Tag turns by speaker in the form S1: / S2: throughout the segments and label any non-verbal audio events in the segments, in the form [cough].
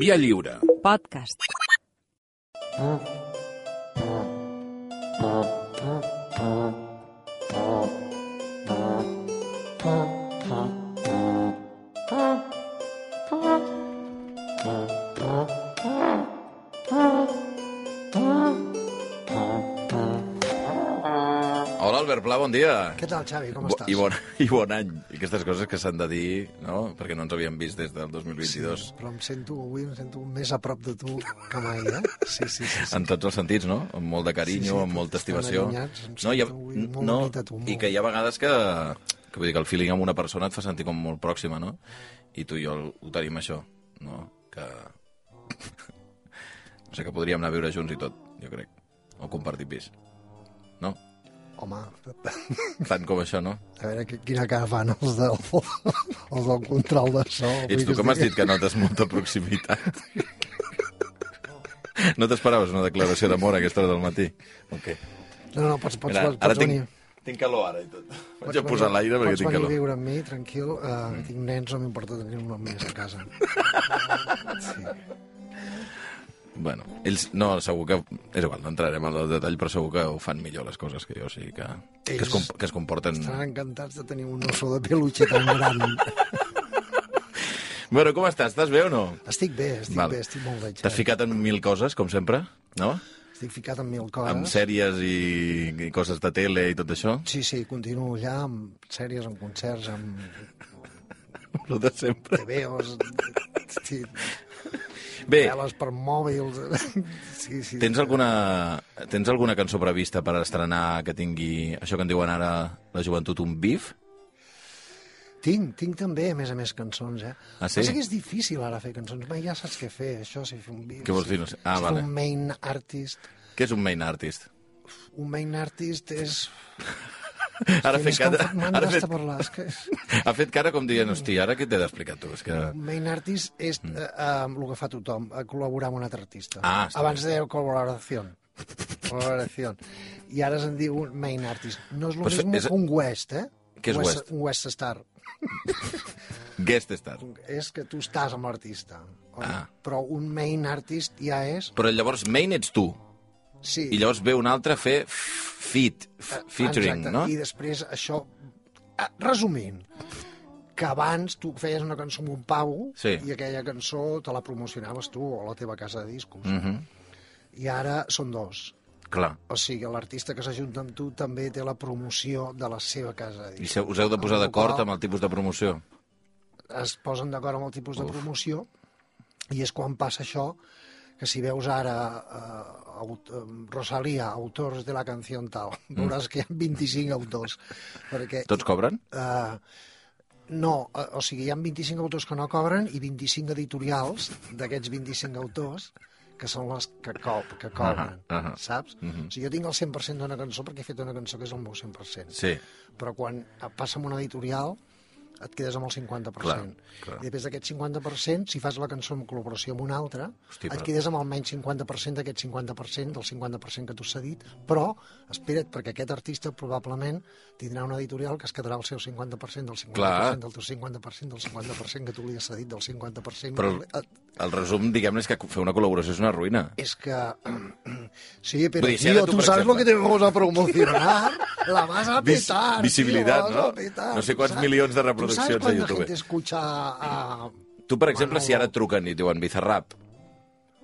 S1: Via lliure.
S2: Podcast.
S1: Hola, Albert Pla, bon dia.
S3: Què tal, Xavi? Com
S1: Bo-
S3: estàs?
S1: I bon, I bon any. I aquestes coses que s'han de dir, no? Perquè no ens havíem vist des del 2022.
S3: Però em sento, avui em sento més a prop de tu que mai, eh? Sí, sí, sí. sí.
S1: En tots els sentits, no? Amb molt de carinyo,
S3: Sí, sí,
S1: amb molta
S3: estan
S1: estimació.
S3: allunyats, em sento avui molt
S1: no,
S3: unit a tu, molt.
S1: I que hi ha vegades que, que, vull dir, que el feeling amb una persona et fa sentir com molt pròxima, no? I tu i jo ho tenim, això, no? Que... [laughs] o sigui, que podríem anar a viure junts i tot, jo crec. O compartir pis. No?
S3: Home, a
S1: Tant com això, no?
S3: veure qui- quina cara fan els del, [laughs] els del control de so. Avui
S1: Ets tu que m'has dit que notes molta proximitat. No t'esperaves una declaració d'amor a aquesta hora del matí? Ok.
S3: estic- No, no, pots, pots,
S1: Mira,
S3: pots,
S1: ara
S3: pots venir.
S1: tinc, tinc calor ara i tot. Vaig a
S3: Pots
S1: posar
S3: venir-
S1: l'aire perquè tinc
S3: Pots venir a
S1: calor.
S3: viure amb mi, tranquil. Uh, mm. Tinc nens, no m'importa tenir un nom més a casa. Sí.
S1: Bueno, ells, no, segur que... És igual, no entrarem en el detall, però segur que ho fan millor les coses que jo, o sigui que... Que es, com, que es comporten...
S3: Estaran encantats de tenir un oso de peluche tan gran.
S1: Bueno, com estàs? Estàs bé o no?
S3: Estic bé, estic
S1: Val.
S3: bé, estic molt bé,
S1: T'has
S3: Xavi.
S1: ficat en mil coses, com sempre, no?
S3: Estic ficat en mil coses.
S1: Amb sèries i, i coses de tele i tot això? [laughs]
S3: Sí, sí, continuo ja amb sèries, amb concerts, amb
S1: Lo de sempre.
S3: TVOs, sí,
S1: Bé,
S3: teles per mòbils... Sí, sí.
S1: Tens alguna, tens alguna cançó prevista per estrenar que tingui això que en diuen ara la joventut un bif?
S3: Tinc, tinc també, a més a més, cançons, eh?
S1: Ah, sí?
S3: Passa que és difícil ara fer cançons, mai ja saps què fer, això, si fer un vídeo...
S1: Què vols dir? No sé. Ah,
S3: si
S1: vale.
S3: fer un main artist...
S1: Què és un main artist?
S3: Un main artist és...
S1: Ara
S3: és
S1: fet,
S3: que em
S1: cara,
S3: fa- m'han
S1: ara
S3: d'estar
S1: fet,
S3: parlant, és que...
S1: ha fet cara com dient, hòstia, ara què t'he d'explicar tu? És que...
S3: Un main artist és eh, eh, el que fa tothom, eh, col·laborar amb un altre artista.
S1: Mm. Ah, està
S3: Abans deia col·laboració. Col·laboració. I ara se'n diu un main artist. No és el
S1: Però
S3: pues
S1: és-
S3: mismo que un West, eh?
S1: Què és West?
S3: Un West Star.
S1: Guest star.
S3: És que tu estàs amb l'artista. oi?
S1: Ah.
S3: Però un main artist ja és...
S1: Però llavors main ets tu.
S3: Sí,
S1: I llavors ve un altre a fer fit, f- Eh, featuring,
S3: Exacte.
S1: no?
S3: I després això... Ah, Resumint, que abans tu feies una cançó amb un pavo
S1: Sí.
S3: i aquella cançó te la promocionaves tu o a la teva casa de discos.
S1: Mhm.
S3: I ara són dos.
S1: Clar.
S3: O sigui, l'artista que s'ajunta amb tu també té la promoció de la seva casa. de
S1: I
S3: discos.
S1: se- us heu de posar
S3: Amb la
S1: d'acord
S3: qual
S1: amb el tipus de promoció.
S3: Es posen d'acord amb el tipus de promoció i és quan passa això que si veus ara eh, aut eh, Rosalia, autors de la canció tal,
S1: Mm.
S3: veuràs que hi ha 25 autors, perquè
S1: Tots cobren?
S3: Eh, no, eh, o sigui, hi ha 25 autors que no cobren i 25 editorials d'aquests 25 autors que són les que, cop, que cobren, uh -huh,
S1: ahà. Mhm.
S3: saps? Uh -huh. O sigui, jo tinc el 100% d'una cançó perquè he fet una cançó que és el meu 100%.
S1: Sí.
S3: Però quan eh, passa amb una editorial et quedes amb el 50%.
S1: Clar, clar.
S3: I després d'aquest 50%, si fas la cançó en col·laboració amb una altra,
S1: Hosti,
S3: et
S1: però-
S3: quedes amb almenys 50% d'aquest 50%, del 50% que tu s'ha dit, però espera't, perquè aquest artista probablement tindrà una editorial que es quedarà el seu 50% del 50%,
S1: Clar.
S3: del teu 50%, del 50% que tu li has cedit, del 50%...
S1: Però
S3: Eh,
S1: el resum, diguem-ne, és que fer una col·laboració és una ruïna.
S3: És que... [clears throat] Sí, però,
S1: Vull dir, si ara
S3: tío,
S1: tu,
S3: tu
S1: per
S3: sabes lo
S1: exemple-
S3: que tenemos a promocionar, la vas a
S1: Vis-
S3: petar,
S1: visibilitat, no?
S3: tío, la vas a petar.
S1: No sé
S3: Tu
S1: quants
S3: saps-
S1: milions de reproduccions
S3: tu
S1: a
S3: saps quan
S1: YouTube.
S3: la gent escucha a...
S1: Tu, per exemple, si ara
S3: Manolo.
S1: et truquen i et diuen Bizarrap,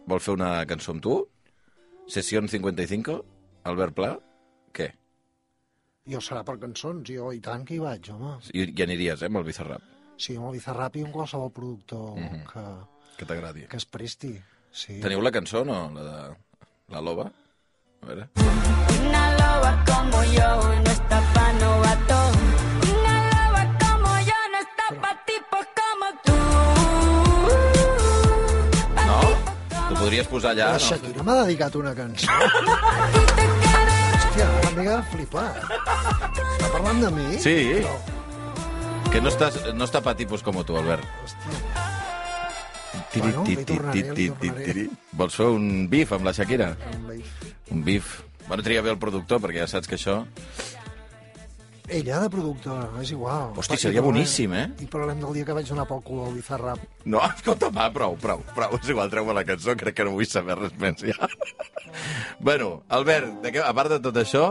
S1: vol fer una cançó amb tu? Sessió 55? Albert Pla? Què?
S3: Jo serà per cançons, jo i tant que hi vaig, home.
S1: I, i aniríes, eh, amb el Bizarrap,
S3: Sí, amb el Bizarrap i amb qualsevol productor que,
S1: que t'agradi.
S3: que es presti. Sí.
S1: Mhm. Teniu la cançó, no? La de... La Loba? A veure.
S4: Una loba como yo no está pa' novato. Una loba como yo no está pa' tipos como tú. Pa'
S1: No?
S4: tipos
S1: Tu
S4: como
S1: podries posar allà,
S3: La
S1: no?
S3: Shakira m'ha dedicat una cançó.
S4: tú te quedarás.
S3: Hòstia, una mica de flipar. Està parlant de mi?
S1: Sí. Que no, estàs, no està pa tipus com tu, Albert.
S3: Hòstia,
S1: Tiri,
S3: Bueno, li
S1: tiri,
S3: tornaré,
S1: tiri,
S3: li
S1: tiri,
S3: tornaré.
S1: tiri. Vols fer un bif amb la Shakira?
S3: em veig.
S1: Un bif. Bueno, tria bé el productor, perquè ja saps que això...
S3: Ella de productora, és igual.
S1: Hosti,
S3: I
S1: seria
S3: parlem-
S1: boníssim, eh?
S3: I parlem del dia que vaig donar pel cul a l'Izarrap.
S1: No, [laughs] escolta, va, prou, prou, prou. És igual, treu-me la cançó, crec que no vull saber res més, ja. [laughs] bueno, Albert, de què, a part de tot això,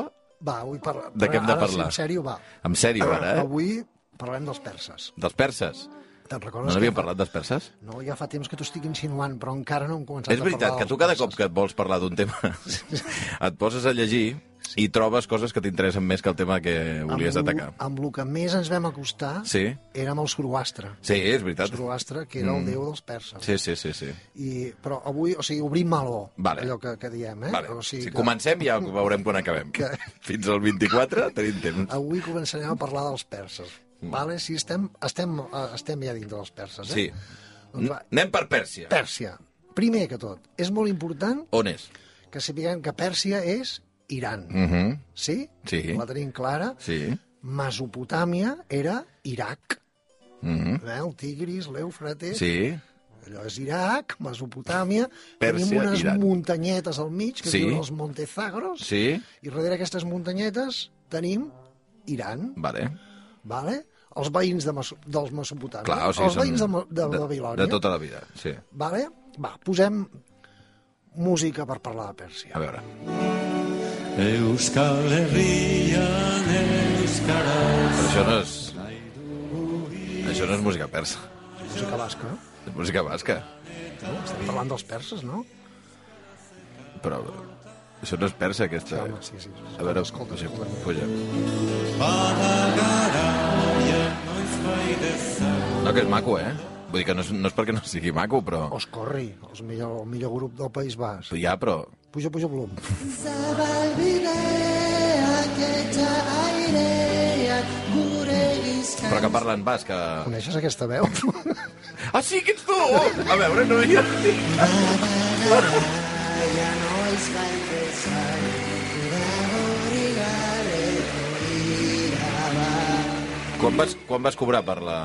S3: Va, avui parla...
S1: De què hem de
S3: Ara sí,
S1: parlar?
S3: en sèrio, va.
S1: en sèrio, ara, eh?
S3: Avui parlem dels perses.
S1: Dels perses.
S3: Te'n
S1: No
S3: recordes?
S1: n'havíem
S3: que fa-
S1: parlat dels perses?
S3: No, ja fa temps que t'ho estic insinuant, però encara no hem començat
S1: És veritat que tu cada cop que et vols parlar d'un tema [laughs] et poses a llegir i trobes coses que t'interessen més que el tema que volies atacar.
S3: Amb, amb el que més ens vam acostar
S1: Sí,
S3: era amb el Zoroastre.
S1: sí, és veritat.
S3: Zoroastre, que era el déu dels perses.
S1: Sí, sí, sí, sí.
S3: I, però avui, o sigui, obrim meló,
S1: Vale.
S3: allò que, que diem, eh?
S1: Vale.
S3: O
S1: Si
S3: sigui, que
S1: comencem ja veurem quan acabem.
S3: Que- Ah,
S1: Fins al 24 tenim temps.
S3: Avui començarem a parlar dels perses.
S1: Mm.
S3: Vale? Si estem, estem, eh, estem ja dintre dels perses,
S1: Sí.
S3: eh? Doncs va,
S1: Anem per Pèrsia.
S3: Pèrsia. Primer que tot, és molt important
S1: On és?
S3: que sapiguem que Pèrsia és Iran.
S1: Uh -huh.
S3: Sí?
S1: Sí.
S3: La tenim clara.
S1: Sí.
S3: Mesopotàmia era Iraq.
S1: Uh -huh.
S3: Eh? El Tigris, l'Eufrates...
S1: Sí.
S3: Allò és Iraq, Mesopotàmia,
S1: Pèrsia,
S3: tenim unes
S1: Iran.
S3: muntanyetes al mig que
S1: Sí.
S3: sí. diuen els Montezagros,
S1: Sí.
S3: i darrere aquestes muntanyetes tenim Iran,
S1: Vale.
S3: vale? els veïns de Meso dels Mesopotàmia,
S1: Clar, o sigui,
S3: els veïns de, Mo- de, de
S1: De,
S3: Babilònia.
S1: de tota la vida, sí.
S3: Vale? Va, posem música per parlar de Pèrsia.
S1: A veure.
S2: Euskal Herrian euskaraz
S1: Però això no és... Això no és música persa.
S3: Música basca. eh?
S1: És música basca.
S3: Estem parlant dels perses, no?
S1: Però... Això no és persa, aquesta.
S3: Home, sí, sí.
S1: A veure,
S3: escolta,
S1: sí,
S3: escolta.
S1: puja.
S2: Badagara noiz baidezan
S1: No, que és maco, eh? Vull dir que no és, no és perquè no sigui maco, però...
S3: Os Corri, els millor, el millor grup del País Basc.
S1: Ja, però...
S3: Puja, puja volum.
S5: Zabalbideak eta aireak gure gizkan
S1: Però que parlen basca...
S3: Coneixes aquesta veu?
S1: Ah, sí, que ets tu! A veure, no hi ha...
S5: Baina noiz gaitezan Gura hori garreko iraba
S1: Quan vas, quan vas cobrar per la,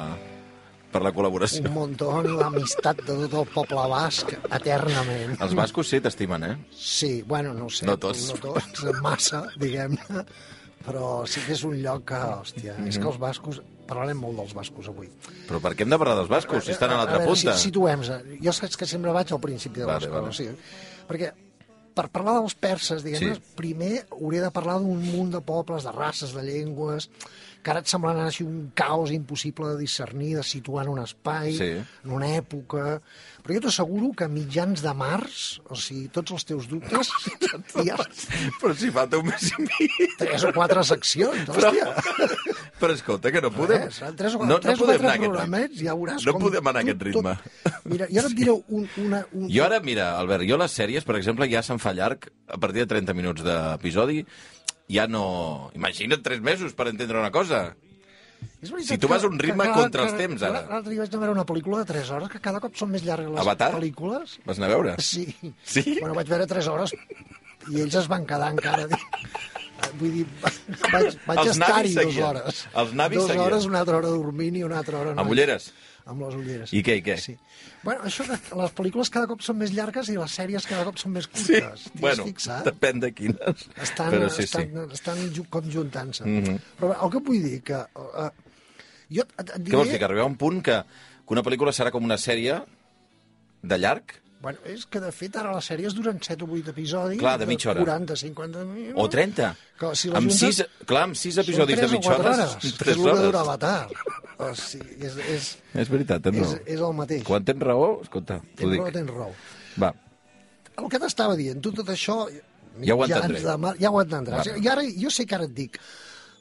S1: per la col·laboració?
S3: Un montón l'amistat de tot el poble basc eternament.
S1: Els bascos sí, t'estimen, eh?
S3: Sí, bueno, no ho sé.
S1: No tots.
S3: No tots, massa, diguem-ne. Però sí que és un lloc que, hòstia, és que els bascos... Parlarem molt dels bascos avui.
S1: Però per què hem de parlar dels bascos, si estan a l'altra
S3: veure,
S1: punta?
S3: Si, situem -se. Jo saps que sempre vaig al principi de
S1: Vale,
S3: les
S1: vale.
S3: coses. Sí. Perquè per parlar dels perses, diguem-ne,
S1: Sí.
S3: sí. primer hauré de parlar d'un munt de pobles, de races, de llengües, que ara et semblarà així un caos impossible de discernir, de situar en un espai,
S1: Sí.
S3: en una època... Però jo t'asseguro que a mitjans de març, o sigui, tots els teus
S1: [laughs]
S3: dubtes, hi ha
S1: Però si falta un mes i mig...
S3: tres o quatre seccions,
S1: Però,
S3: hòstia.
S1: però escolta, que no podem...
S3: Res, en tres o,
S1: no,
S3: no,
S1: no
S3: tres o
S1: podem
S3: quatre
S1: anar a aquest ritme.
S3: programets ja veuràs
S1: No
S3: com...
S1: podem anar a
S3: tu
S1: aquest ritme.
S3: Tot... Mira, jo ara et diré un, una, un,
S1: Jo ara, mira, Albert, jo les sèries, per exemple, ja se'n fa llarg a partir de 30 minuts d'episodi, ja no... Imagina't tres mesos per entendre una cosa.
S3: És veritat
S1: Si tu vas a un ritme contra els temps, ara.
S3: L'altre dia vaig anar a veure una pel·lícula de 3 hores, que cada cop són més llargues les
S1: Avatar?
S3: pel·lícules.
S1: Vas anar a veure?
S3: Sí.
S1: Sí?
S3: Bueno, vaig veure 3 hores i ells es van quedar encara... Dir... Vull dir, vaig, vaig
S1: Els navis
S3: estar-hi dues
S1: seguien.
S3: hores.
S1: Els navis
S3: dues
S1: seguien.
S3: hores, una altra hora dormint i una altra hora...
S1: Amb ulleres?
S3: Amb les ulleres.
S1: I què, i què?
S3: Sí. Bueno, això de les pel·lícules cada cop són més llargues i les sèries cada cop són més curtes. T'hi has
S1: bueno,
S3: fixat?
S1: depèn de quines.
S3: estan,
S1: però sí,
S3: estan,
S1: sí. Mhm.
S3: estan ju- conjuntant-se. Mm -hmm. Però el que vull dir que... Eh, jo et, et diré...
S1: Què vols dir? Que arribarà un punt que, que una pel·lícula serà com una sèrie de llarg?
S3: Bueno, és que, de fet, ara les sèries duren 7 o 8 episodis.
S1: Clar, de mitja hora.
S3: 40, 50... minuts.
S1: O 30?
S3: Que, si la
S1: amb,
S3: juntes,
S1: sis, clar, amb sis
S3: són
S1: episodis de
S3: tres o
S1: mitja
S3: quatre
S1: hora...
S3: hores,
S1: són
S3: que és
S1: Tres
S3: el que dura
S1: hores.
S3: Avatar. O sigui, és, és,
S1: És veritat, tens
S3: és,
S1: raó.
S3: és el mateix.
S1: Quan tens raó, escolta, t'ho
S3: tens raó,
S1: dic.
S3: tens raó.
S1: Va,
S3: El que t'estava dient, tu tot això...
S1: Ja ho
S3: mitjans
S1: entendré.
S3: de mar- Ja ho entendràs.
S1: Vale.
S3: I ara, jo sé que ara et dic,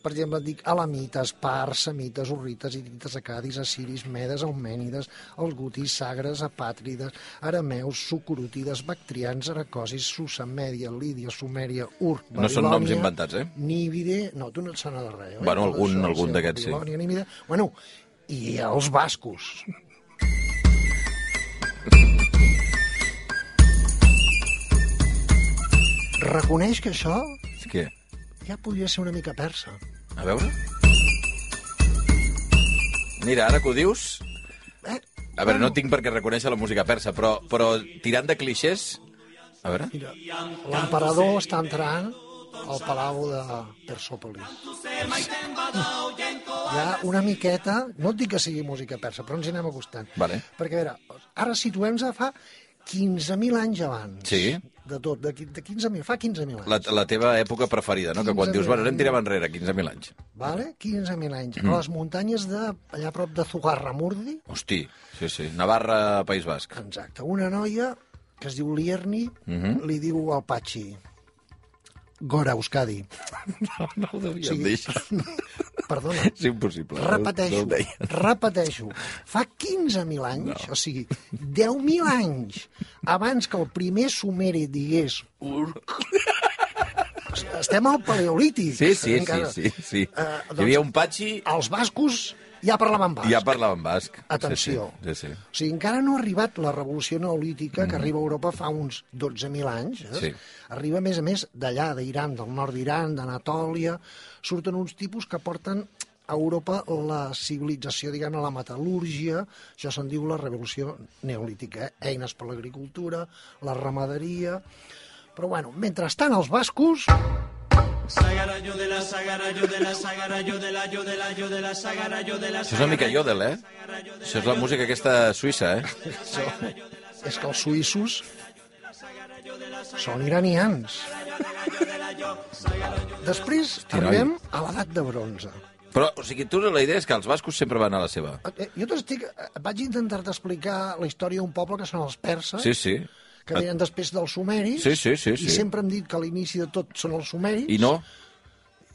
S3: per exemple, et dic alamites, pars, samites, urrites, irites, acadis, assiris, medes, eumènides, algutis, sagres, apàtrides, arameus, sucurutides, bactrians, aracosis, susa, mèdia, lídia, sumèria, ur,
S1: No són
S3: Babilònia,
S1: noms inventats, eh?
S3: Nívide... No, tu no et sona de res, eh? oi?
S1: Bueno,
S3: Tot
S1: algun-
S3: això,
S1: algun d'aquests sí.
S3: Babilònia, Nívide... Bueno, i els bascos. Reconeix que això
S1: és que...
S3: ja podria ser una mica persa.
S1: A veure... Mira, ara que ho dius...
S3: Eh?
S1: A veure, no tinc per què reconèixer la música persa, però, però tirant de clixés... A veure...
S3: Mira, l'emperador està entrant al Palau de Persòpolis. Hi ha una miqueta, no et dic que sigui música persa, però ens hi anem acostant.
S1: Vale.
S3: Perquè, a veure, ara situem-nos a fa 15.000 anys abans.
S1: Sí.
S3: De tot, de, qui- de 15.000, fa 15.000 anys.
S1: La, la teva època preferida, no? Que quan
S3: 15.000
S1: dius, bueno, anem tirant enrere, 15.000 anys.
S3: Vale? 15.000 anys.
S1: Mm.
S3: A les muntanyes de, allà a prop de Zugarramurdi,
S1: Hosti, sí, sí. Navarra, País
S3: [laughs]
S1: Basc.
S3: Exacte. Una noia que es diu Lierni
S1: Mhm.
S3: li diu al Patxi Gora, Euskadi.
S1: No, no ho devien
S3: Sí.
S1: [laughs]
S3: Perdona.
S1: És impossible. No-
S3: Repeteixo,
S1: No, ho [laughs] deien.
S3: repeteixo. Fa 15.000 anys, o sigui, 10.000 anys abans que el primer sumeri digués Urk, estem al paleolític.
S1: sí, sí, sí,
S3: encara.
S1: sí, sí.
S3: Eh, doncs,
S1: Hi havia un patxi
S3: Els bascos ja parlaven basc.
S1: i ja parlaven basc.
S3: Atenció.
S1: Sí, sí. sí, sí.
S3: O sigui, encara no ha arribat la revolució neolítica que arriba a Europa fa uns 12.000 anys. Eh?
S1: Sí.
S3: Arriba, a més a més, d'allà, d'Iran, del nord d'Iran, d'Anatòlia. Surten uns tipus que porten a Europa la civilització, diguem la metal·lúrgia, això se'n diu la revolució neolítica, eh? eines per l'agricultura, la ramaderia... Però, bueno, mentrestant, els bascos...
S1: Això és una mica Jodel, eh? Això és la música aquesta suïssa, eh?
S3: Això, és que els suïssos són iranians. Després
S1: noi.
S3: arribem a l'edat de bronze.
S1: Però, o sigui, tu la idea és que els bascos sempre van a la seva.
S3: Eh, Jo t'estic... eh, Vaig intentar explicar la història d'un poble que són els perses,
S1: Sí, sí.
S3: que venen després dels sumeris,
S1: Sí, sí, sí, sí.
S3: i sempre hem dit que a l'inici de tot són els sumeris,
S1: I no?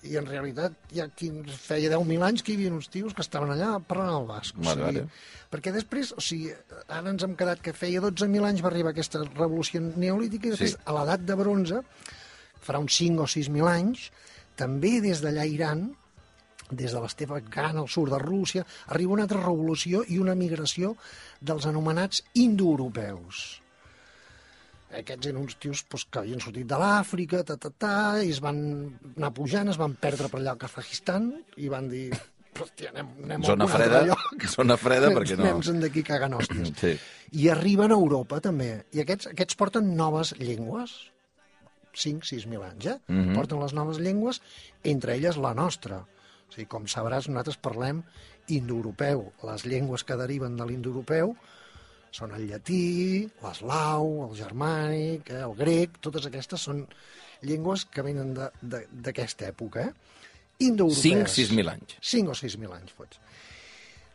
S3: i en realitat ja feia 10.000 anys que hi havia uns tios que estaven allà parlant el basc. O
S1: Vale,
S3: sigui,
S1: vale.
S3: Perquè després, o sigui, ara ens hem quedat que feia 12.000 anys va arribar aquesta revolució neolítica i després
S1: Sí.
S3: sí. a l'edat de bronze, farà uns 5 o 6.000 anys, també des d'allà a Iran, des de l'Esteve Khan al sud de Rússia, arriba una altra revolució i una migració dels anomenats indoeuropeus aquests eren uns tios doncs, que havien sortit de l'Àfrica, ta, ta, ta, i es van anar pujant, es van perdre per allà al Kazajistan, i van dir, hòstia, anem, anem a
S1: Zona
S3: un
S1: freda,
S3: altre lloc.
S1: [laughs] zona freda, perquè no.
S3: Anem-se'n d'aquí cagant hòsties.
S1: Sí.
S3: I arriben a Europa, també. I aquests, aquests porten noves llengües, 5-6.000 anys, eh? Mm -hmm. Porten les noves llengües, entre elles la nostra. O sigui, com sabràs, nosaltres parlem indoeuropeu. Les llengües que deriven de l'indoeuropeu són el llatí, l'eslau, el germànic, eh, el grec... Totes aquestes són llengües que venen de- de- d'aquesta època, eh? Indoeuropees.
S1: 5-6.000 anys.
S3: 5 o 6.000 anys, fots.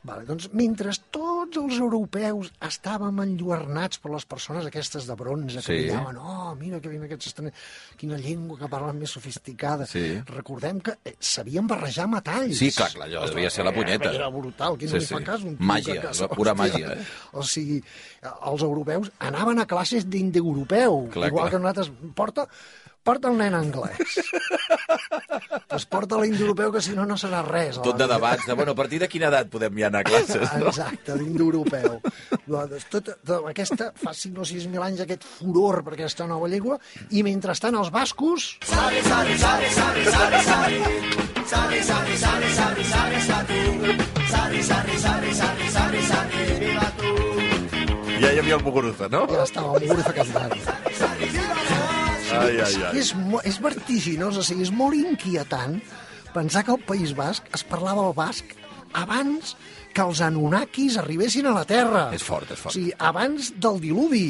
S3: Vale, doncs, mentre tots els europeus estàvem enlluernats per les persones aquestes de bronze que
S1: Sí.
S3: cridaven, oh, mira que venen aquests estrangers, quina llengua que parlen més sofisticada.
S1: Sí.
S3: Recordem que eh, sabien barrejar metalls.
S1: Sí, clar, clar, allò devia ser la punyeta.
S3: Era brutal, qui no
S1: Sí,
S3: sí, li fa
S1: sí.
S3: cas? Un tio
S1: Màgia,
S3: que-
S1: la pura
S3: hòstia.
S1: màgia, eh?
S3: O sigui, eh, els europeus anaven a classes d'indoeuropeu,
S1: Clar, clar.
S3: igual que nosaltres. Porta, porta el
S1: [laughs]
S3: nen anglès. pues porta l'indoeuropeu, que si no, no serà res. a la
S1: Tot de
S3: vida.
S1: debats, de, bueno, a partir de quina edat podem ja anar a classes, no?
S3: Ah, Exacte, d'indoeuropeu. Doncs tot, tot, aquesta, fa 5 o 6 mil anys, aquest furor per aquesta nova llengua, i mentrestant els bascos...
S1: Ja hi havia el Muguruza, no?
S3: Ja estava el Muguruza cantant.
S1: Ai, ai, ai.
S3: És, mo- és vertiginós, o sigui, és molt inquietant pensar que al País Basc es parlava el basc abans que els anunnakis arribessin a la Terra.
S1: És fort, és fort.
S3: O sigui, abans del diluvi,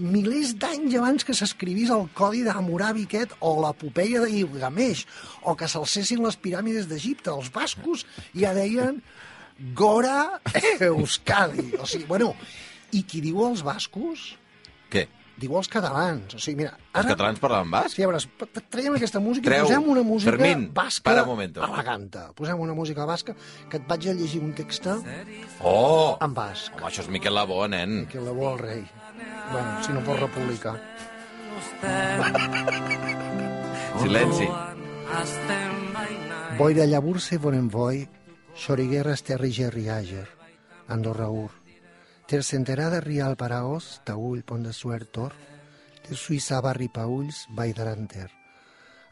S3: milers d'anys abans que s'escrivís el codi d'Hammurabi aquest o l'epopeia de Gilgamesh o que s'alcessin les piràmides d'Egipte, els bascos ja deien Gora Euskadi. O sigui, bueno, i qui diu els bascos
S1: Què?
S3: diu els catalans. O sigui, mira, ara...
S1: Els catalans parlaven basc?
S3: Sí, a veure, es- traiem aquesta música
S1: Treu,
S3: i posem una música
S1: Fermín,
S3: basca
S1: para un momento.
S3: eleganta. Posem una música basca que et vaig a llegir un text en
S1: Oh!
S3: basc,
S1: Home, això és Miquel Labó, nen.
S3: que la vol el rei. Bueno, si no pot republicar.
S1: Silenci.
S3: Boira llaburse vonem voi, xoriguerra esterri gerri àger, Andorra ur. Tercenterada rial paraós, taull pont de suertor, de Suïssa barri paulls, vall daranter.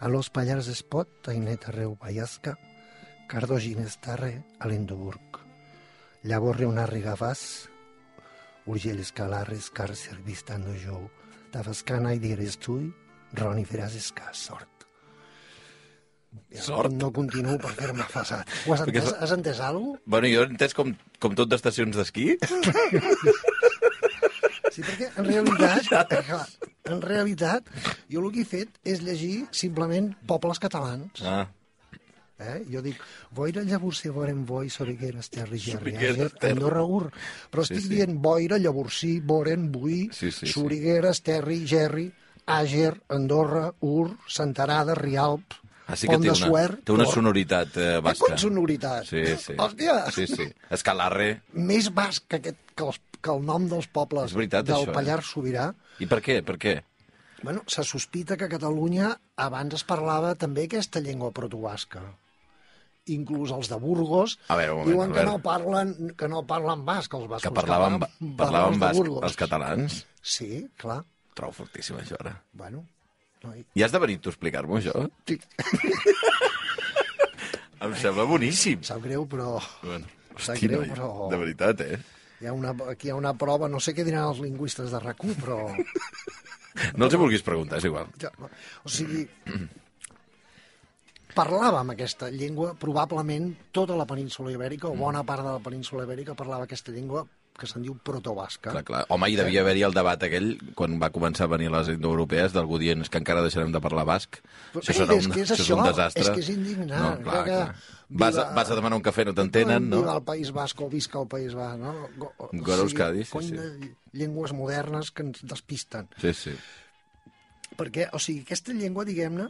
S3: A los Pallars es pot, tainet arreu ballasca, cardo ginestarre a l'Endoburg. Llavors reunarre gavàs, urgell escalarres, car servistando jou, tavascana i dires tu, roni veràs escàs sort. Ja,
S1: Sort.
S3: No continuo per fer-me passar. Ho has
S1: Perquè
S3: entès?
S1: és-
S3: Has entès alguna cosa?
S1: Bueno, jo he entès com, com tot d'estacions d'esquí.
S3: Sí, perquè en realitat, clar, en realitat, jo el que he fet és llegir simplement pobles catalans.
S1: Ah,
S3: Eh? Jo dic, boira llavorcí, vorem voi, sorigueres, terri, gerri,
S1: Sorigueres,
S3: àger,
S1: terri.
S3: Andorra, ur. eh?" Però
S1: Sí,
S3: estic
S1: sí.
S3: dient boira, llavorcí, vorem, buí,
S1: Sí, sí, sí.
S3: sorigueres, terri, gerri, àger, Andorra, ur, Santarada, Rialp,
S1: ah sí que
S3: Pont
S1: té
S3: de
S1: una,
S3: Suert...
S1: té una
S3: tot.
S1: sonoritat eh,
S3: Eh,
S1: basca.
S3: com sonoritat?
S1: Sí, sí.
S3: Hòstia!
S1: Sí, sí. Escalarre.
S3: Més basc que, aquest, que, els, que el nom dels pobles
S1: És veritat,
S3: del
S1: això, eh?
S3: Pallars Sobirà.
S1: I per què? Per què?
S3: Bueno, se sospita que a Catalunya abans es parlava també aquesta llengua protobasca. Inclús els de Burgos
S1: A veure, un moment,
S3: diuen que
S1: Albert.
S3: no, parlen, que no parlen basc, els bascos.
S1: Que parlaven,
S3: parlen-
S1: parlaven
S3: parlen els de
S1: basc,
S3: Burgos.
S1: els catalans.
S3: Sí, clar.
S1: Trobo fortíssim, això, ara.
S3: Bueno, no, i-
S1: I has de venir tu a explicar-m'ho, això? [laughs] Em sembla boníssim.
S3: sap greu, però
S1: Bueno,
S3: Sap
S1: hosti,
S3: greu,
S1: noi,
S3: però-
S1: de veritat, eh?
S3: hi ha una, aquí hi ha una prova, no sé què diran els lingüistes de RAC1, però...
S1: No els hi vulguis preguntar, és igual.
S3: ja, O sigui, parlàvem aquesta llengua, probablement tota la península ibèrica,
S1: Mm.
S3: o bona part de la península ibèrica parlava aquesta llengua que se'n diu protobasca.
S1: Clar, clar. Home, hi devia haver-hi el debat aquell, quan va començar a venir les indoeuropees, d'algú dient "És que encara deixarem de parlar basc.
S3: Però,
S1: Això
S3: ei,
S1: serà
S3: és
S1: un,
S3: que és
S1: això és un
S3: això,
S1: desastre.
S3: és que és indignant.
S1: No, clar,
S3: Crec que
S1: clar. Vas, a,
S3: viva-
S1: vas a demanar un cafè, no t'entenen, no?
S3: Viva el País Basc o visca el País Basc, no? Go, o
S1: Gora Euskadi, sí,
S3: cony
S1: sí.
S3: de llengües modernes que ens despisten.
S1: Sí, sí.
S3: Perquè, o sigui, aquesta llengua, diguem-ne,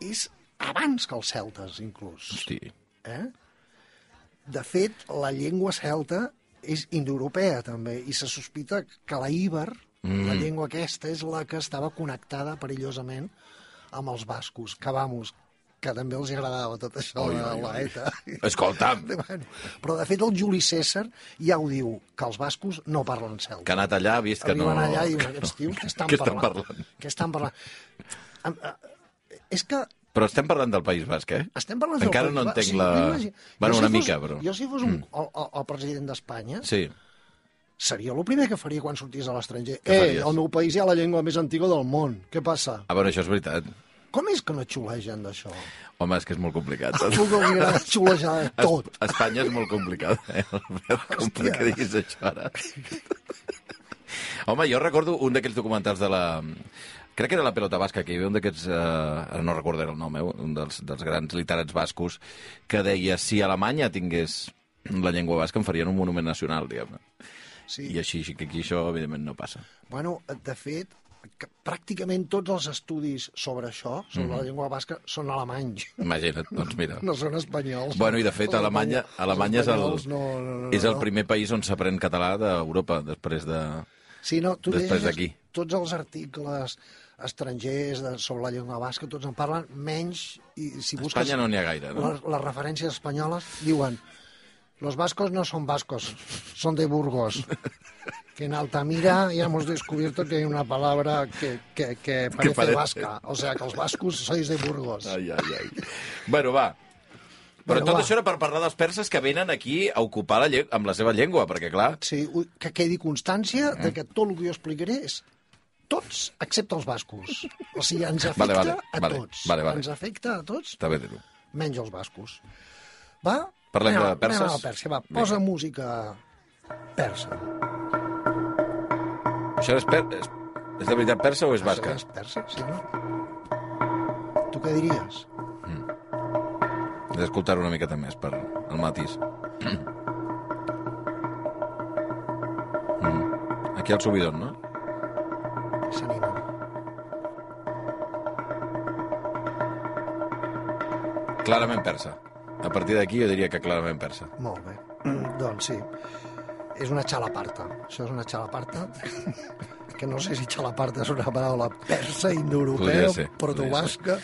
S3: és abans que els celtes, inclús.
S1: Hosti.
S3: Eh? De fet, la llengua celta és indoeuropea, també, i se sospita que la íber, mm. la llengua aquesta, és la que estava connectada perillosament amb els bascos, que vamos, que també els agradava tot això
S1: Oi,
S3: de
S1: oi,
S3: la
S1: oi.
S3: ETA. [laughs]
S1: Escolta'm,
S3: Bueno, però, de fet, el Juli César ja ho diu, que els bascos no parlen celta.
S1: que ha anat allà, ha vist que no...
S3: Arriben allà i diuen,
S1: que no- [laughs]
S3: aquests tios, què estan,
S1: què estan
S3: parlant?
S1: parlant?
S3: Què estan parlant? Am- a- És que
S1: Però estem parlant del País Basc, eh?
S3: estem parlant...
S1: Encara
S3: del
S1: no
S3: País Basc.
S1: entenc
S3: O sigui,
S1: la-
S3: tu imagina-
S1: Bueno,
S3: jo
S1: una
S3: si
S1: mica,
S3: fos,
S1: però. Mm.
S3: Jo si fos un, el, el, el president d'Espanya,
S1: Sí.
S3: seria el primer que faria quan sortís a l'estranger.
S1: Què
S3: Eh,
S1: faries?
S3: al meu país hi ha la llengua més antiga del món. Què passa?
S1: Ah, bueno, això és veritat.
S3: Com és que no et xulegen d'això?
S1: Home, és que és molt complicat.
S3: [laughs] A tu que li
S1: [laughs]
S3: agrada xulejar de tot.
S1: Es- Espanya és molt complicada, eh, Albert? Com per
S3: Hòstia.
S1: què diguis això ara? Home, jo recordo un d'aquells documentals de la... Crec que era la pelota basca, que hi havia un d'aquests... Eh, ara no recordo el nom, eh, un dels, dels grans literats bascos, que deia si Alemanya tingués la llengua basca en farien un monument nacional, diguem-ne.
S3: Sí.
S1: I així, que aquí això, evidentment, no passa.
S3: Bueno, de fet, que pràcticament tots els estudis sobre això, sobre
S1: Mm-hmm.
S3: la llengua basca, són alemanys. [laughs]
S1: Imagina't, doncs mira.
S3: No són espanyols.
S1: Bueno, i de fet,
S3: Els
S1: Alemanya,
S3: espanyols-
S1: Alemanya és, el,
S3: els espanyols No, no, no,
S1: és el
S3: no.
S1: primer país on s'aprèn català d'Europa, després de...
S3: Sí, no, tu
S1: després d'aquí.
S3: llegeixes Tots els articles estrangers de, sobre la llengua basca, tots en parlen, menys... I si busques
S1: Espanya no n'hi ha gaire, no?
S3: les, les referències espanyoles, diuen los vascos no son vascos, son de Burgos. Que en Altamira ya hemos descubierto que hay una palabra que, que, que, parece,
S1: parece.
S3: vasca. O sea, que los vascos sois de Burgos.
S1: Ai, ai, ai. [laughs] bueno, va. Però
S3: Bueno,
S1: tot
S3: va.
S1: això era per parlar dels perses que venen aquí a ocupar la lle... amb la seva llengua, perquè, clar...
S3: Sí, ui, que quedi constància
S1: Eh?
S3: de que tot el que jo explicaré és tots, excepte els bascos. O sigui, ens afecta
S1: Vale, vale,
S3: a
S1: vale,
S3: tots.
S1: vale, vale.
S3: Ens afecta a tots,
S1: Està bé dir-ho.
S3: menys els bascos. Va?
S1: Parlem
S3: anem,
S1: de perses?
S3: Anem a la Pèrsia, va. Posa música persa.
S1: Això és, per... és... és de veritat persa o és basca?
S3: És persa, sí, no? Tu què diries?
S1: He d'escoltar-ho una miqueta més per el matís. Mm. Aquí al subidon, no?
S3: S'anima.
S1: Clarament persa. A partir d'aquí jo diria que clarament persa.
S3: Molt bé. Mm, doncs sí. És una xalaparta. Això és una xalaparta [laughs] que no sé si xalaparta és una paraula persa,
S1: Podria
S3: indoeuropea,
S1: ser,
S3: protobasca,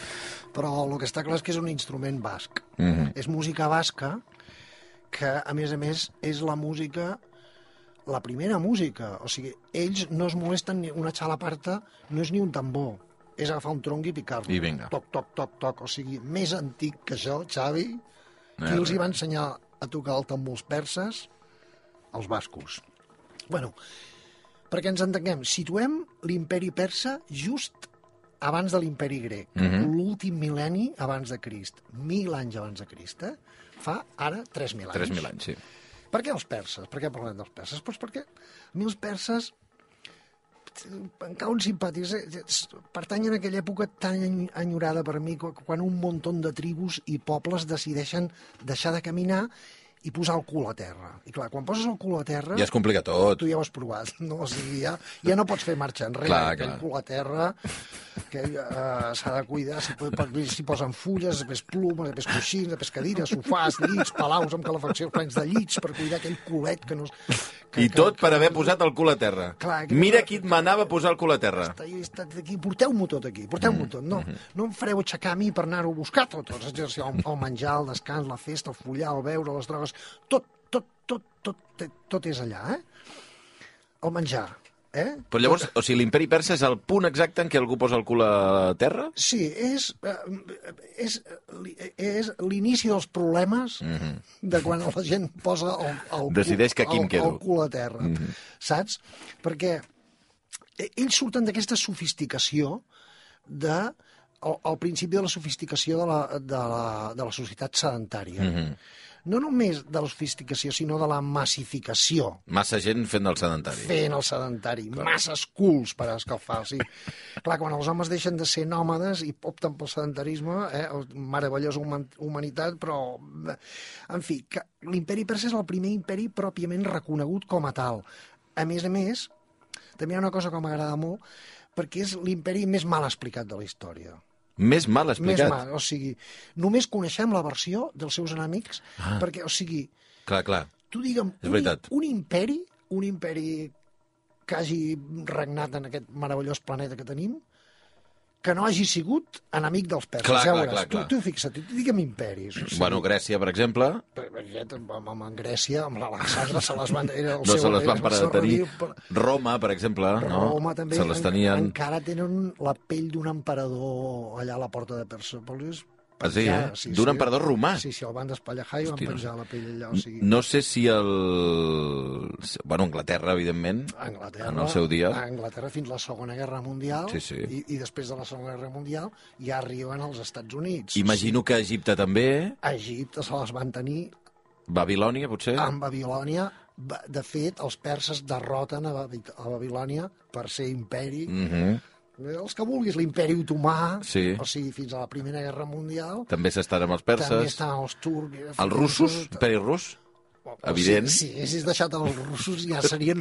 S3: però el que està clar és que és un instrument basc.
S1: Mhm.
S3: És música basca que, a més a més, és la música la primera música. O sigui, ells no es molesten ni una xalaparta, no és ni un tambor. És agafar un tronc i picar-lo.
S1: I vinga.
S3: Toc, toc, toc, toc. O sigui, més antic que això, Xavi,
S1: No hi ha
S3: qui els hi
S1: res.
S3: va ensenyar a tocar el tambor als perses? Els bascos. bueno, perquè ens entenguem, situem l'imperi persa just abans de l'imperi grec, l'últim mil·lenni abans de Crist, mil anys abans de Crist, eh? fa ara 3.000 anys.
S1: 3.000 anys, sí.
S3: Per què els perses? Per què parlem dels perses? Doncs perquè a mi els perses encara un simpàtics. eh? Pertanyen a aquella època tan eny- enyorada per mi, qu- quan un munt de tribus i pobles decideixen deixar de caminar i posar el cul a terra. I clar, quan poses el cul a terra,
S1: Ja es complica tot.
S3: tu ja ho has provat, [laughs] no? O sigui, ja, ja no pots fer marxa enrere.
S1: Clar,
S3: aquell
S1: clar.
S3: cul a terra, que eh, s'ha de cuidar, s'hi po- pot- s'hi posen fulles, després plumes, després coixins, després cadires, sofàs, llits, palaus amb calefacció, plens de llits, per cuidar aquell culet que no... es- Que,
S1: I tot per haver posat el cul a terra.
S3: Clar, que-
S1: Mira qui et manava a posar el cul a terra.
S3: Està, està aquí, porteu-m'ho tot aquí,
S1: Mm,
S3: porteu-m'ho tot. No,
S1: mm-hmm.
S3: no em fareu aixecar a mi per anar-ho a buscar tot, els exercicis, el, el menjar, el descans, la festa, el follar, el beure, les drogues, tot, tot, tot, tot, tot, tot és allà, eh? El menjar, eh?
S1: Però llavors, o sigui, l'imperi persa és el punt exacte en què algú posa el cul a terra?
S3: Sí, és, eh, és, li- és l'inici dels problemes de quan la gent posa el, el,
S1: Mhm. Decideix que aquí em
S3: cul, el,
S1: quedo. Mhm.
S3: el cul a terra, saps? Perquè eh, ells surten d'aquesta sofisticació de al, al principi de la sofisticació de la, de la, de la societat sedentària.
S1: Mhm.
S3: No només de la sofisticació, sinó de la massificació
S1: Massa gent fent el sedentari.
S3: fent el sedentari, masses culs per escalfar. O sigui, clar, quan els homes deixen de ser nòmades i opten pel sedentarisme, eh, el- meravellosa human humanitat, però... En fi, que l'imperi persa és el primer imperi pròpiament reconegut com a tal. A més a més, també hi ha una cosa que m'agrada molt, perquè és l'imperi més mal explicat de la història.
S1: Més mal
S3: Més
S1: explicat.
S3: mal, o sigui, només coneixem la versió dels seus enemics, ah. perquè, o sigui,
S1: Clar, clar.
S3: tu digue'm,
S1: És veritat.
S3: Un, un imperi, un imperi que hagi regnat en aquest meravellós planeta que tenim, que no hagi sigut enemic dels perses.
S1: Clar,
S3: ja
S1: clar,
S3: veuràs.
S1: clar, clar.
S3: Tu, tu fixa't, tu digue'm imperis. O sigui,
S1: Bueno, Grècia, per exemple,
S3: aquest, amb, amb, amb Grècia, amb l'Alexandre, se les van... Era el
S1: no
S3: seu,
S1: se les
S3: era
S1: van
S3: el
S1: parar
S3: seu
S1: de tenir.
S3: relleu, però-
S1: Roma, per exemple, no?
S3: Roma també
S1: se les
S3: en-
S1: tenien...
S3: encara tenen la pell d'un emperador allà a la porta de Persèpolis.
S1: Ah, sí,
S3: penjada.
S1: eh? D'un emperador romà.
S3: Sí, sí, el van despallejar i van
S1: Hosti, no.
S3: penjar la pell allà. O sigui...
S1: No sé si el... Bueno, Anglaterra, evidentment,
S3: a Anglaterra,
S1: en el seu dia.
S3: A Anglaterra fins la Segona Guerra Mundial
S1: Sí, sí.
S3: I, i després de la Segona Guerra Mundial ja arriben als Estats Units.
S1: Imagino que Egipte també,
S3: A Egipte se les van tenir
S1: Babilònia, potser.
S3: amb Babilònia. Ba- De fet, els perses derroten a, Babi a Babilònia per ser imperi. Mm.
S1: Mhm.
S3: Els que vulguis, l'imperi otomà,
S1: Sí.
S3: o sigui, fins a la Primera Guerra Mundial.
S1: També s'estan amb els
S3: També
S1: perses.
S3: estan els turcs. eh,
S1: Els russos, imperi rus. evident.
S3: Si, si haguessis deixat els russos ja serien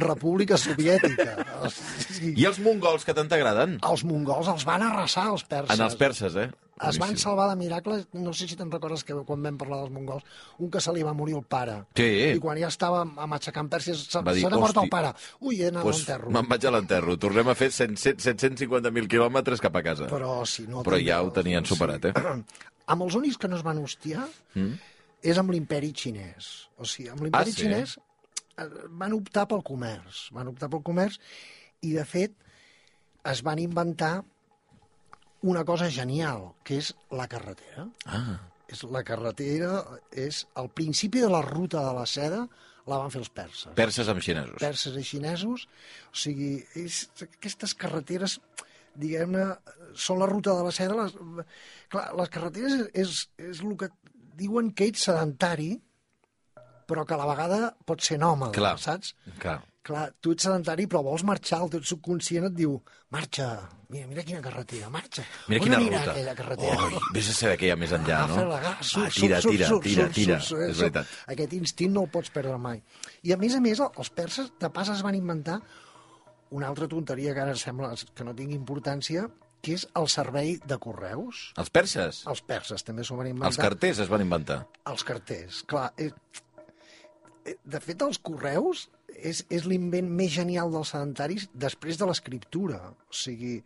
S1: [laughs]
S3: república soviètica. O sigui,
S1: I els mongols, que tant t'agraden?
S3: els mongols els van arrasar, Ah, els perses.
S1: En els perses, eh?
S3: Es van
S1: Boníssim.
S3: salvar de miracles, no sé si te'n recordes que quan vam parlar dels mongols, un que se li va morir el pare.
S1: Sí.
S3: I quan ja estava a matxacant Pèrsia, se,
S1: Va dir,
S3: se n'ha mort
S1: "Hosti".
S3: el pare. Ui, he anat
S1: Pues
S3: pues, a l'enterro.
S1: me'n vaig a l'enterro. Tornem a fer 100 750.000 quilòmetres cap a casa. Però,
S3: Però, si no,
S1: Però
S3: també-
S1: ja ho tenien
S3: sí.
S1: superat, eh?
S3: [clears throat] Amb els únics que no es van hostiar mm? és amb l'imperi xinès. O sigui, amb
S1: Ah,
S3: l'imperi
S1: sí?
S3: xinès eh, van optar pel comerç. Van optar pel comerç i, de fet, es van inventar una cosa genial, que és la carretera.
S1: Ah,
S3: és la carretera, és el principi de la ruta de la seda, la van fer els perses.
S1: perses amb xinesos.
S3: Perses i xinesos, o sigui, és, aquestes carreteres, diguem-ne, són la ruta de la seda. Les, clar, les carreteres és, és, és el que diuen que ets sedentari, però que a la vegada pot ser nòmada,
S1: Clar.
S3: saps?
S1: Clar.
S3: Clar, tu ets sedentari, però vols marxar, el teu subconscient et diu, marxa, mira, mira quina carretera, marxa.
S1: Mira
S3: On
S1: quina
S3: anirà
S1: ruta.
S3: aquella carretera?
S1: Oi, vés a saber què hi ha més enllà, no?
S3: Agafa la gas, surt,
S1: Ah, tira,
S3: surt,
S1: tira,
S3: surt,
S1: tira,
S3: surt,
S1: tira.
S3: surt, surt,
S1: És
S3: surt.
S1: veritat.
S3: Aquest instint no el pots perdre mai. I a més a més, els perses de pas es van inventar una altra tonteria que ara sembla que no tingui importància, que és el servei de correus.
S1: Els perses?
S3: Els perses també s'ho van
S1: Els
S3: inventar.
S1: carters es van inventar.
S3: Els carters, clar. Eh, eh, de fet, els correus és, és l'invent més genial dels sedentaris després de l'escriptura. O sigui,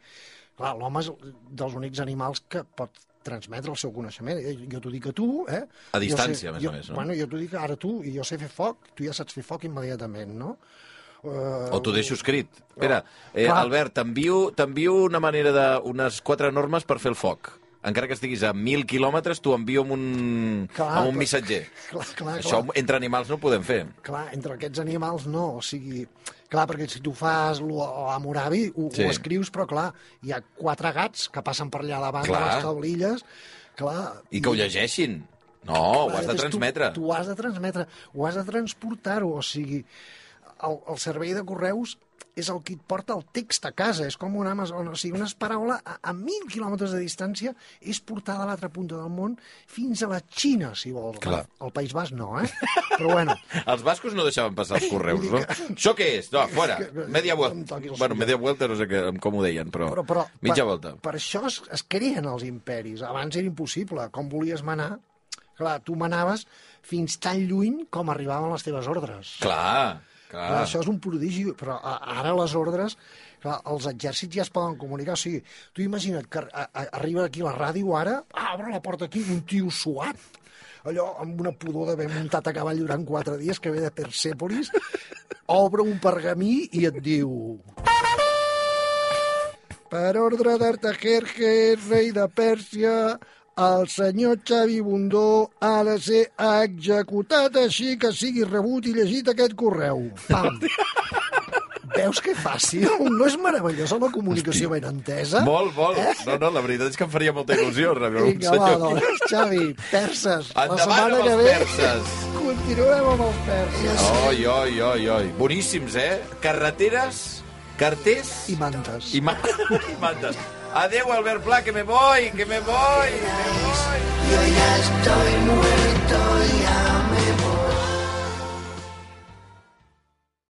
S3: clar, l'home és dels únics animals que pot transmetre el seu coneixement. Eh, Jo t'ho dic a tu, eh?
S1: A
S3: Jo
S1: distància, a més a
S3: jo,
S1: més, no?
S3: Bueno, jo t'ho dic ara a tu, i jo sé fer foc, tu ja saps fer foc immediatament, no? Uh,
S1: O t'ho deixo escrit. Espera, eh,
S3: Clar.
S1: Albert, t'envio t'envio una manera de... unes quatre normes per fer el foc. encara que estiguis a 1.000 quilòmetres, t'ho envio amb un,
S3: Clar,
S1: amb un
S3: però-
S1: missatger.
S3: [laughs] Clar, clar,
S1: Això
S3: clar.
S1: entre animals no ho podem fer.
S3: Clar, entre aquests animals no, o sigui... Clar, perquè si tu fas l'Amurabi, ho,
S1: Sí.
S3: sí. ho escrius, però clar, hi ha quatre gats que passen per allà davant de
S1: Clar.
S3: les taulilles, clar...
S1: I que ho llegeixin. No, ho has
S3: Clar,
S1: de
S3: llavors
S1: transmetre.
S3: Tu, tu has de transmetre, ho has de transportar-ho, o sigui, el, el servei de correus és el que et porta el text a casa, és com un Amazon, o sigui, una paraula a, a mil quilòmetres de distància és portada a l'altra punta del món fins a la Xina, si vols.
S1: Clar.
S3: El País Basc no, eh? Però bueno,
S1: Els bascos no deixaven passar els correus, no? Això què és? No, fora.
S3: que-
S1: Media
S3: em
S1: vuelta.
S3: toquis el
S1: Bueno,
S3: suyo.
S1: media vuelta no sé que, com ho deien, però,
S3: però, però
S1: mitja
S3: per,
S1: volta.
S3: Per això es, es creen els imperis. Abans era impossible. Com volies manar, clar, tu manaves fins tan lluny com arribaven les teves ordres.
S1: Clar, clar.
S3: Clar, això és un prodigi, però a- ara les ordres, clar, els exèrcits ja es poden comunicar. O sigui, tu imagina't que a- a- arriba aquí la ràdio ara, ah, obre la porta aquí, un tio suat, allò amb una pudor d'haver muntat a cavall durant quatre dies, que ve de Persepolis, obre un pergamí i et diu... Per ordre d'Artajerjes, rei de Pèrsia, el senyor Xavi Bundó ha de ser executat així que sigui rebut i llegit aquest correu. Pam! Veus que fàcil? No és meravellosa la comunicació ben entesa?
S1: Molt, molt. No, no, la veritat és que em faria molta il·lusió rebre un
S3: Eh? Vinga,
S1: senyor
S3: va,
S1: aquí.
S3: doncs, Xavi, perses. la
S1: Endavant
S3: setmana
S1: amb
S3: que
S1: els
S3: ve
S1: perses.
S3: continuem amb els perses.
S1: Oi, oi, oi, oi. Boníssims, eh? Carreteres, carters
S3: I mantes.
S1: i, ma [laughs] i mantes. Adéu, Albert Pla, que me voy, que me voy, que me voy.
S5: Yo ya estoy muerto ya.